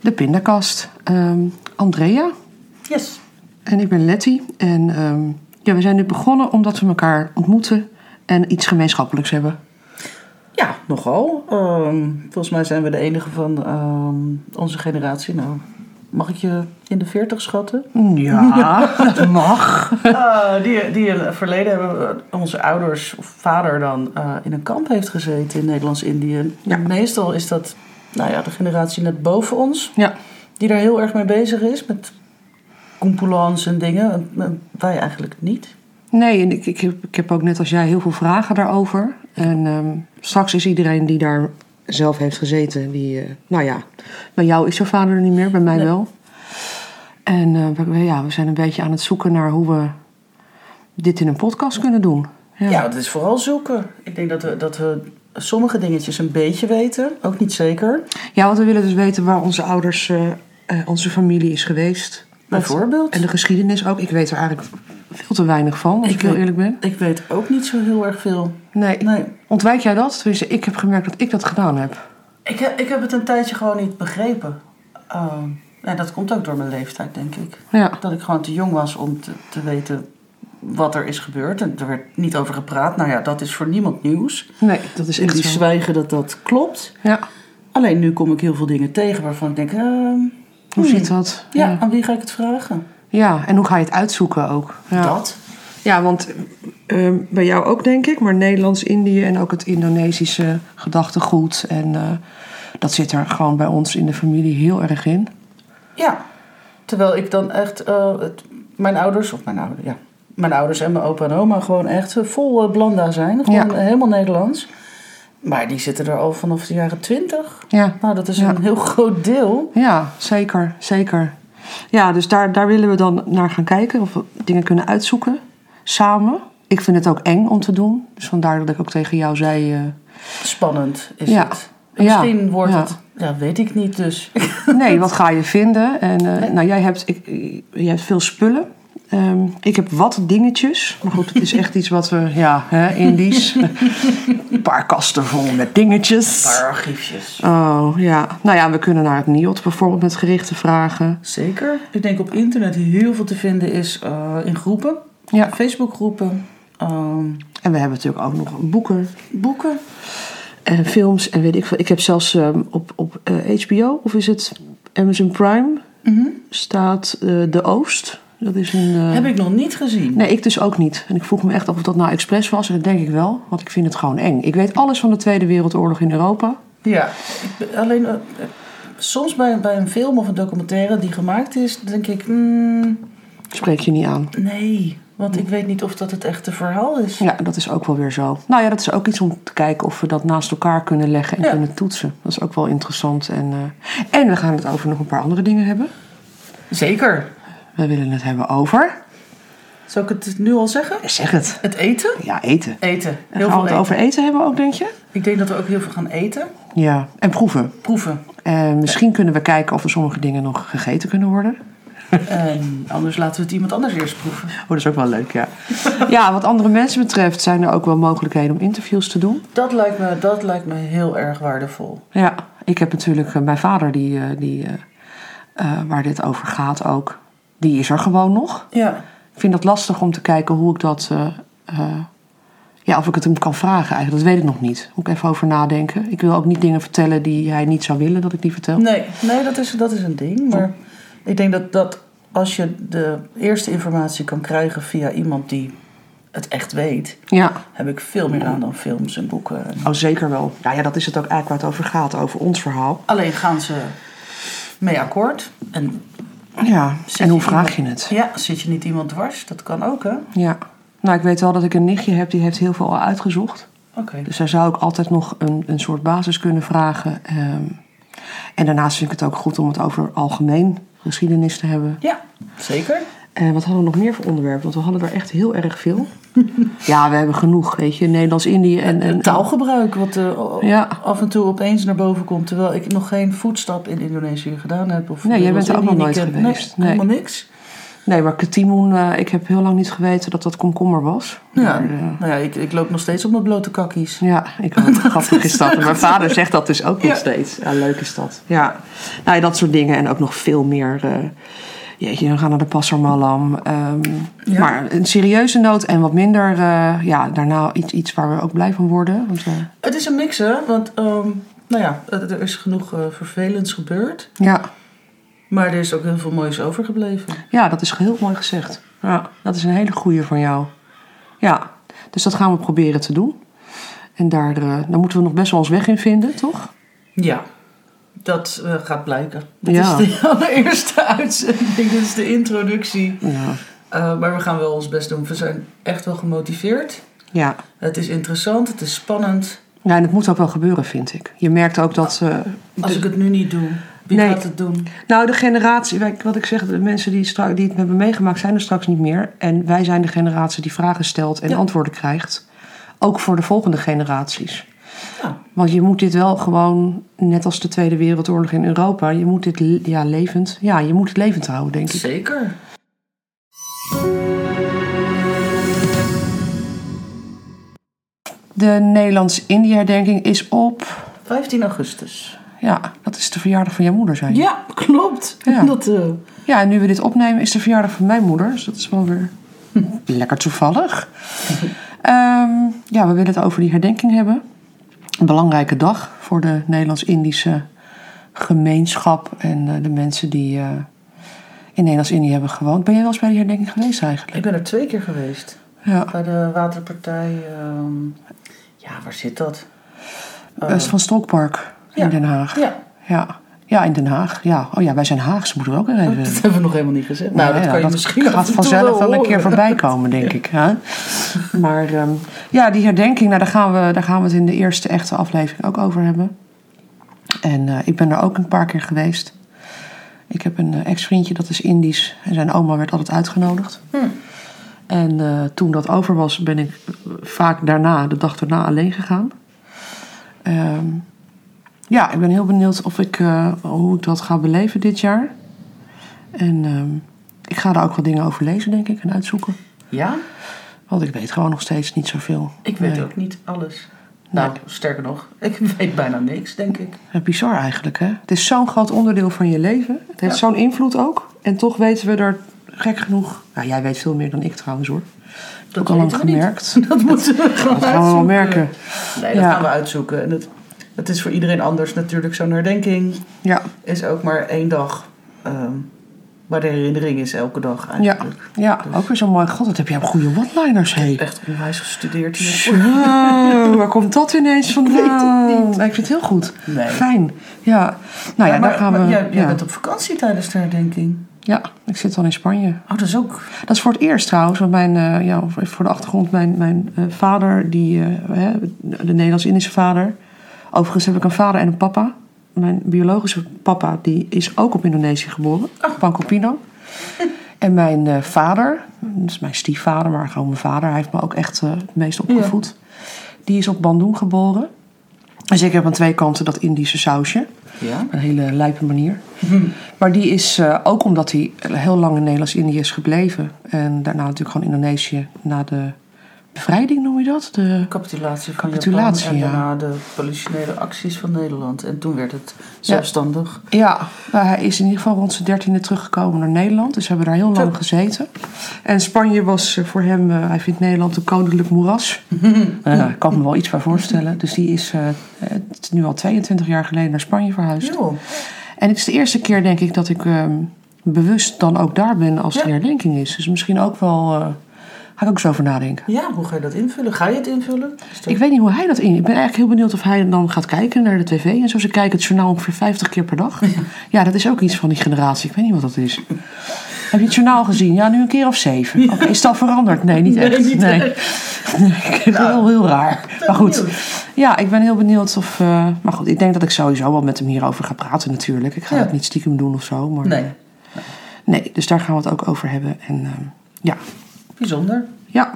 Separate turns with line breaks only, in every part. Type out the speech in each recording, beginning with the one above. De Pindakast. Ehm, Andrea
Yes.
en ik ben Letty. En ehm, ja, we zijn nu begonnen omdat we elkaar ontmoeten en iets gemeenschappelijks hebben.
Ja, nogal. Ehm, volgens mij zijn we de enige van ehm, onze generatie. Nou, mag ik je in de 40 schatten?
Ja, dat mag.
Eh, die, die in het verleden hebben we- onze ouders of vader dan eh, in een kamp heeft gezeten in Nederlands-Indië.
Ja.
Meestal is dat nou ja, de generatie net boven ons,
Ja,
die daar heel erg mee bezig is met compulans en dingen. En- en wij eigenlijk niet.
nee, en ik, ik, heb, ik heb ook net als jij heel veel vragen daarover. En ehm, straks is iedereen die daar zelf heeft gezeten, die, eh, nou ja, bij jou is jouw vader er niet meer, bij mij wel. En eh, we- we, ja, we zijn een beetje aan het zoeken naar hoe we dit in een podcast kunnen doen.
Ja, het is vooral zoeken. Ik denk dat we, dat we sommige dingetjes een beetje weten, ook niet zeker.
Ja, want we willen dus weten waar onze ouders, eh, eh, onze familie is geweest.
Bijvoorbeeld.
En de geschiedenis ook. Ik weet er eigenlijk veel te weinig van, als ik,
Ik
heel
weet-
eerlijk ben.
Ik weet ook niet zo heel erg veel.
Nee.
Nee.
Ontwijk jij dat? Tenminste, ik heb gemerkt dat ik dat gedaan heb.
Ik heb, ik heb het een tijdje gewoon niet begrepen. Ehm, en dat komt ook door mijn leeftijd, denk ik.
Ja.
Dat ik gewoon te jong was om te, te weten wat er is gebeurd. En er werd niet over gepraat. Nou ja, dat is voor niemand nieuws.
Nee, dat is
En
echt
die
zo.
zwijgen dat dat klopt.
Ja.
Alleen nu kom ik heel veel dingen tegen waarvan ik denk... ehm,
Hoe
hmm,
zit dat?
Ja,
Oh, ja.
aan wie ga ik het vragen?
Ja, en hoe ga je het uitzoeken ook? Ja.
Dat.
Ja, want ehm, bij jou ook denk ik, maar Nederlands, Indië en ook het Indonesische gedachtegoed. En eh, dat zit er gewoon bij ons in de familie heel erg in.
Ja. Terwijl ik dan echt eh, het- mijn ouders, of mijn ouders, ja. Mijn ouders en mijn opa en oma gewoon echt eh, vol eh, blanda zijn. Gewoon eh,
Ja.
helemaal Nederlands. Maar die zitten er al vanaf de jaren twintig.
Ja.
Nou, dat is
Ja.
een heel groot deel.
Ja, zeker, zeker. Ja, dus daar, daar willen we dan naar gaan kijken of we dingen kunnen uitzoeken samen. Ik vind het ook eng om te doen, dus vandaar dat ik ook tegen jou zei. eh,
Spannend is
Ja.
het.
Ja.
En Misschien wordt
Ja.
het... Ja, weet ik niet dus.
nee, wat ga je vinden? En eh, nou, jij hebt, ik, ik- jij hebt veel spullen. Ehm, ik heb wat dingetjes. Maar goed, het is echt iets wat we, ja, hè, Indisch. Een paar kasten vol met dingetjes.
paar archiefjes.
Oh ja, nou ja, we kunnen naar het NIOT bijvoorbeeld met gerichte vragen.
Zeker. Ik denk op internet heel veel te vinden is eh, in groepen.
Ja.
Facebookgroepen. ehm,
En we hebben natuurlijk ook nog boeken.
boeken.
en films en weet ik veel. Ik heb zelfs ehm, op, op eh, HBO, of is het Amazon Prime, staat eh, De Oost. Dat is een... eh,
Mhm. Heb ik nog niet gezien.
Nee, ik dus ook niet. En ik vroeg me echt af of dat nou expres was. En dat denk ik wel, want ik vind het gewoon eng. Ik weet alles van de Tweede Wereldoorlog in Europa.
Ja, ik ben- alleen eh, eh, soms bij, bij een film of een documentaire die gemaakt is, denk ik, mm,
Spreek je niet aan.
nee, want ik weet niet of dat het echte verhaal is.
Ja, dat is ook wel weer zo. Nou ja, dat is ook iets om te kijken of we dat naast elkaar kunnen leggen en
Ja.
kunnen toetsen. Dat is ook wel interessant. En, eh, en we gaan het over nog een paar andere dingen hebben.
Zeker.
We willen het hebben over...
Zou ik het nu al zeggen?
Zeg het.
Het eten?
Ja, eten.
Eten.
En
Heel
gaan
veel
we het
eten.
over eten hebben ook, denk je?
Ik denk dat we ook heel veel gaan eten.
Ja, en proeven.
Proeven.
En misschien kunnen we kijken of er sommige dingen nog gegeten kunnen worden.
En Ehm, anders laten we het iemand anders eerst proeven.
Oh, dat is ook wel leuk, ja. ja, wat andere mensen betreft zijn er ook wel mogelijkheden om interviews te doen.
Dat lijkt me, dat lijkt me heel erg waardevol.
Ja, ik heb natuurlijk eh, mijn vader, die, eh, die, eh, eh, waar dit over gaat ook, die is er gewoon nog.
Ja.
Ik vind dat lastig om te kijken hoe ik dat. eh, eh, ja, of ik het hem kan vragen eigenlijk. Dat weet ik nog niet. Moet ik even over nadenken. Ik wil ook niet dingen vertellen die hij niet zou willen dat ik die vertel.
Nee, nee dat, is, dat is een ding.
Oh.
Maar ik denk dat, dat als je de eerste informatie kan krijgen via iemand die het echt weet,
Ja.
heb ik veel meer aan dan films en boeken. En-
Oh, zeker wel. Nou ja, dat is het ook eigenlijk waar het over gaat, over ons verhaal.
Alleen gaan ze mee akkoord. En,
Ja, en hoe
je
vraag je het?
ja, zit je niet iemand dwars? Dat kan ook, hè? Oké.
Ja. Nou, ik weet wel dat ik een nichtje heb, die heeft heel veel al uitgezocht. Dus daar zou ik altijd nog een, een soort basis kunnen vragen. Ehm, en daarnaast vind ik het ook goed om het over algemeen geschiedenis te hebben.
Ja, zeker.
En wat hadden we nog meer voor onderwerpen? Want we hadden er echt heel erg veel. ja, we hebben genoeg, weet je. Nederlands-Indië en... en
Taalgebruik, wat eh,
Ja.
af en toe opeens naar boven komt. Terwijl ik nog geen voetstap in Indonesië gedaan heb. Of
Nee, jij bent er ook
Nederlands-Indië
nog nooit
niet ken.
geweest.
Nee,
Nee.
helemaal niks.
Nee, maar ketimoen, eh, ik heb heel lang niet geweten dat dat komkommer was.
Ja,
Maar, eh,
nou ja, ik, ik loop nog steeds op mijn blote kakkies.
Ja, ik ook. Grappig is dat. En Mijn vader zegt dat dus ook nog
Ja.
steeds. Ja, leuk is dat. Ja. Nou ja, dat soort dingen. En ook nog veel meer. eh, jeetje, we gaan naar de Passermallam. Ehm,
Ja.
Maar een serieuze noot en wat minder... eh, ja, daarna iets, iets waar we ook blij van worden. Want, eh,
Het is een mix, hè? Want, ehm, nou ja, eh, er is genoeg eh, vervelends gebeurd.
ja.
Maar er is ook heel veel moois overgebleven.
ja, dat is heel mooi gezegd. Ja, dat is een hele goeie van jou. Ja, dus dat gaan we proberen te doen. En daar, eh, daar moeten we nog best wel ons weg in vinden, toch?
Ja, dat eh, gaat blijken. Dit
Ja.
is de allereerste uitzending, dit is de introductie.
Ja.
Eh, maar we gaan wel ons best doen. We zijn echt wel gemotiveerd.
Ja.
Het is interessant, het is spannend.
Ja, en het moet ook wel gebeuren, vind ik. Je merkt ook dat. eh,
Als
de-
ik het nu niet doe, wie
Nee.
gaat het doen?
nou, de generatie, wij- wat ik zeg, de mensen die, stra- die het hebben meegemaakt, zijn er straks niet meer. En wij zijn de generatie die vragen stelt en
Ja.
antwoorden krijgt. Ook voor de volgende generaties.
Ja.
Want je moet dit wel gewoon, net als de Tweede Wereldoorlog in Europa, je moet dit le- ja, levend, ja, je moet het levend houden, denk ik.
Zeker.
De Nederlands-Indië-herdenking is op.
15 augustus.
Ja, dat is de verjaardag van jouw moeder, zijn.
Ja, klopt.
Ja.
Dat, eh,
Ja, en nu we dit opnemen is de verjaardag van mijn moeder. Dus dat is wel weer lekker toevallig. Ehm, ja, we willen het over die herdenking hebben. Een belangrijke dag voor de Nederlands-Indische gemeenschap en eh, de mensen die eh, in Nederlands-Indië hebben gewoond. Ben jij wel eens bij die herdenking geweest eigenlijk?
ik ben er twee keer geweest.
Ja,
Bij de waterpartij. ehm, ja, waar zit dat?
dat is eh, van Stokpark in
eh, Ja.
Den Haag.
Ja.
ja. Ja, in Den Haag. Ja. Oh ja, wij zijn Haagse, moeten we ook weer even
Dat hebben we nog helemaal niet gezegd. Nou, dat
ja,
kan je misschien af
gaat
en toe
vanzelf wel een
horen.
keer voorbij komen, denk ik. Hè? Maar ehm, ja, die herdenking, nou, daar, gaan we, daar gaan we het in de eerste echte aflevering ook over hebben. En eh, ik ben er ook een paar keer geweest. Ik heb een eh, ex-vriendje, dat is Indisch. En zijn oma werd altijd uitgenodigd.
Hm.
En eh, toen dat over was, ben ik eh, vaak daarna, de dag daarna, alleen gegaan. Ehm, ja, ik ben heel benieuwd of ik, eh, hoe ik dat ga beleven dit jaar. En ehm, ik ga daar ook wel dingen over lezen, denk ik, en uitzoeken.
Ja,
Want ik weet gewoon nog steeds niet zoveel.
ik weet
Nee.
ook niet alles. Nou, sterker nog, ik weet bijna niks, denk ik.
Ja, Bizar eigenlijk, hè? Het is zo'n groot onderdeel van je leven. Het heeft
Ja.
zo'n invloed ook. En toch weten we er gek genoeg... Nou, jij weet veel meer dan ik trouwens, hoor.
Dat
heb ik al lang
weten we niet.
gemerkt.
Dat moeten we gaan
Dat gaan we wel
uitzoeken.
merken.
Nee, dat
Ja.
gaan we uitzoeken. En het, het is voor iedereen anders natuurlijk. Zo'n herdenking
Ja,
is ook maar één dag. ehm, maar de herinnering is elke dag
ja,
eigenlijk.
ja. Ook weer zo mooi. God, wat heb jij goede one-liners, hé.
Echt onwijs gestudeerd hier.
Zo, waar komt dat ineens vandaan? Ik, ik vind het heel goed.
Nee.
Fijn. Ja. Nou ja,
maar,
daar gaan we...
maar jij, jij
ja.
bent op vakantie tijdens de herdenking.
ja, ik zit dan in Spanje.
Oh, dat is ook.
Dat is voor het eerst trouwens, want mijn, eh, ja, voor de achtergrond, mijn, mijn eh, vader, die, eh, hè, de Nederlands-Indische vader. Overigens heb ik een vader en een papa. Mijn biologische papa, die is ook op Indonesië geboren, Bangkok Pino. En mijn eh, vader, dat is mijn stiefvader, maar gewoon mijn vader, hij heeft me ook echt eh, het meest opgevoed. Die is op Bandung geboren. Dus ik heb aan twee kanten dat Indische sausje.
Ja.
Op een hele lijpe manier. Maar die is eh, ook omdat hij heel lang in Nederlands-Indië is gebleven. En daarna natuurlijk gewoon Indonesië na de bevrijding, noem je dat? De,
Capitulatie van
Capitulatie,
Japan en
ja.
daarna de politionele acties van Nederland. En toen werd het zelfstandig.
ja, maar hij is in ieder geval rond zijn dertiende teruggekomen naar Nederland. Dus ze hebben daar heel lang
Zo.
gezeten. En Spanje was eh, voor hem, eh, hij vindt Nederland een koninklijk moeras. Eh, ik kan me wel iets bij voorstellen. Dus die is eh, het is nu al 22 jaar geleden naar Spanje verhuisd.
Jo.
En het is de eerste keer, denk ik, dat ik ehm, bewust dan ook daar ben als
Ja.
de herdenking is. Dus misschien ook wel. eh ga ik ook zo over nadenken.
Ja, hoe ga je dat invullen? Ga je het invullen? Is dat-
Ik weet niet hoe hij dat in. Ik ben eigenlijk heel benieuwd of hij dan gaat kijken naar de tv. En zo ze kijken het journaal ongeveer 50 keer per dag. Ja, dat is ook iets van die generatie. Ik weet niet wat dat is. Heb je het journaal gezien? Ja, nu een keer of zeven. Oké, is dat veranderd? Nee, niet
Nee,
echt.
niet Nou,
nee. Nee, ik vind het wel heel raar. Maar goed. Ja, ik ben heel benieuwd of... eh, maar goed, ik denk dat ik sowieso wel met hem hierover ga praten natuurlijk. Ik ga
Ja.
het niet stiekem doen of zo. Maar,
Nee,
Nee, dus daar gaan we het ook over hebben. En ehm, ja,
bijzonder.
ja.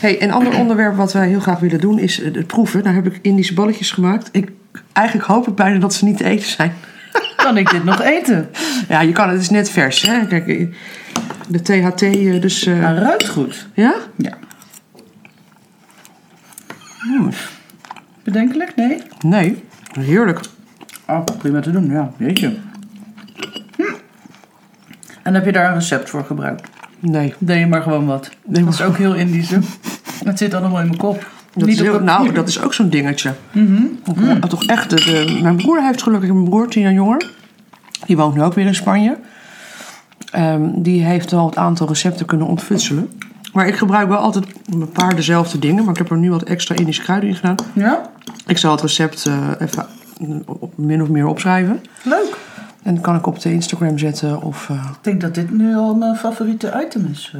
hey, een ander onderwerp wat wij heel graag willen doen is eh, het proeven. Daar heb ik Indische balletjes gemaakt. Ik, eigenlijk hoop ik bijna dat ze niet te eten zijn.
Kan ik dit nog eten?
Ja, je kan het. Het is net vers, hè. Kijk, eh, de THT, eh, dus... eh,
Maar ruikt goed.
ja?
Ja. Hmm. Bedenkelijk? Nee?
Nee. Heerlijk.
Oh, prima te doen, ja. Jeetje. Hm. En heb je daar een recept voor gebruikt?
Nee.
Deed je maar gewoon wat.
Nee,
Dat is ook heel Indisch. hè? Het zit allemaal in mijn kop.
Dat is
Niet op Mhm,
heel-
papier.
nou, dat is ook zo'n dingetje. Ook, eh, Toch echt, de, de- mijn broer heeft gelukkig een broer, tien jaar jonger. Die woont nu ook weer in Spanje. Ehm, die heeft wel het aantal recepten kunnen ontfutselen. Maar ik gebruik wel altijd een paar dezelfde dingen. Maar ik heb er nu wat extra Indische kruiden in gedaan.
Ja?
Ik zal het recept eh, even mm, op, min of meer opschrijven.
Leuk.
En dat kan ik op de Instagram zetten of eh,
Ik denk dat dit nu al mijn favoriete item is.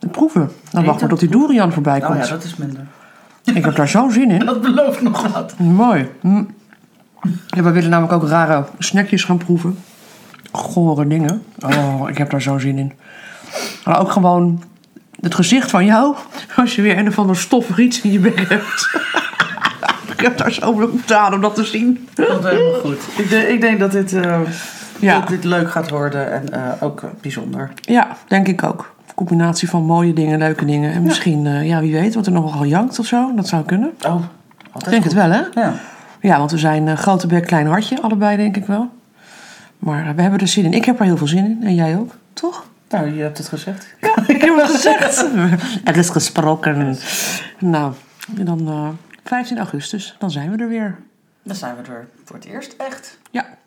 eh.
proeven. Dan
Eten.
wacht maar tot die durian voorbij
Oh
komt.
ja, dat is minder.
Ik heb daar zo'n zin in.
Dat belooft nog wat.
Mooi. Mm. Ja, we willen namelijk ook rare snackjes gaan proeven. Gore dingen. Oh, ik heb daar zo zin in. Maar ook gewoon het gezicht van jou. Als je weer een of ander stoffig iets in je bek hebt. ik heb daar zo behoefte aan om dat te zien.
Komt helemaal goed. Ik, de- ik denk dat dit, eh,
Ja.
dat dit leuk gaat worden en eh, ook eh, bijzonder.
Ja, denk ik ook. Combinatie van mooie dingen, leuke dingen. En misschien, eh, ja, wie weet, wordt er nogal jankt of zo. Dat zou kunnen.
Oh,
Ik
altijd
denk het wel, hè?
wel. Ja.
Ja, want we zijn eh, grote bek, klein hartje, allebei denk ik wel. Maar eh, we hebben er zin in. Ik heb er heel veel zin in. En jij ook, toch?
Nou, je hebt het gezegd.
Ja, ik heb het gezegd. Het is gesproken. Nou, en dan eh 15 augustus, dan zijn we er weer.
Dan zijn we er voor het eerst echt.
Ja,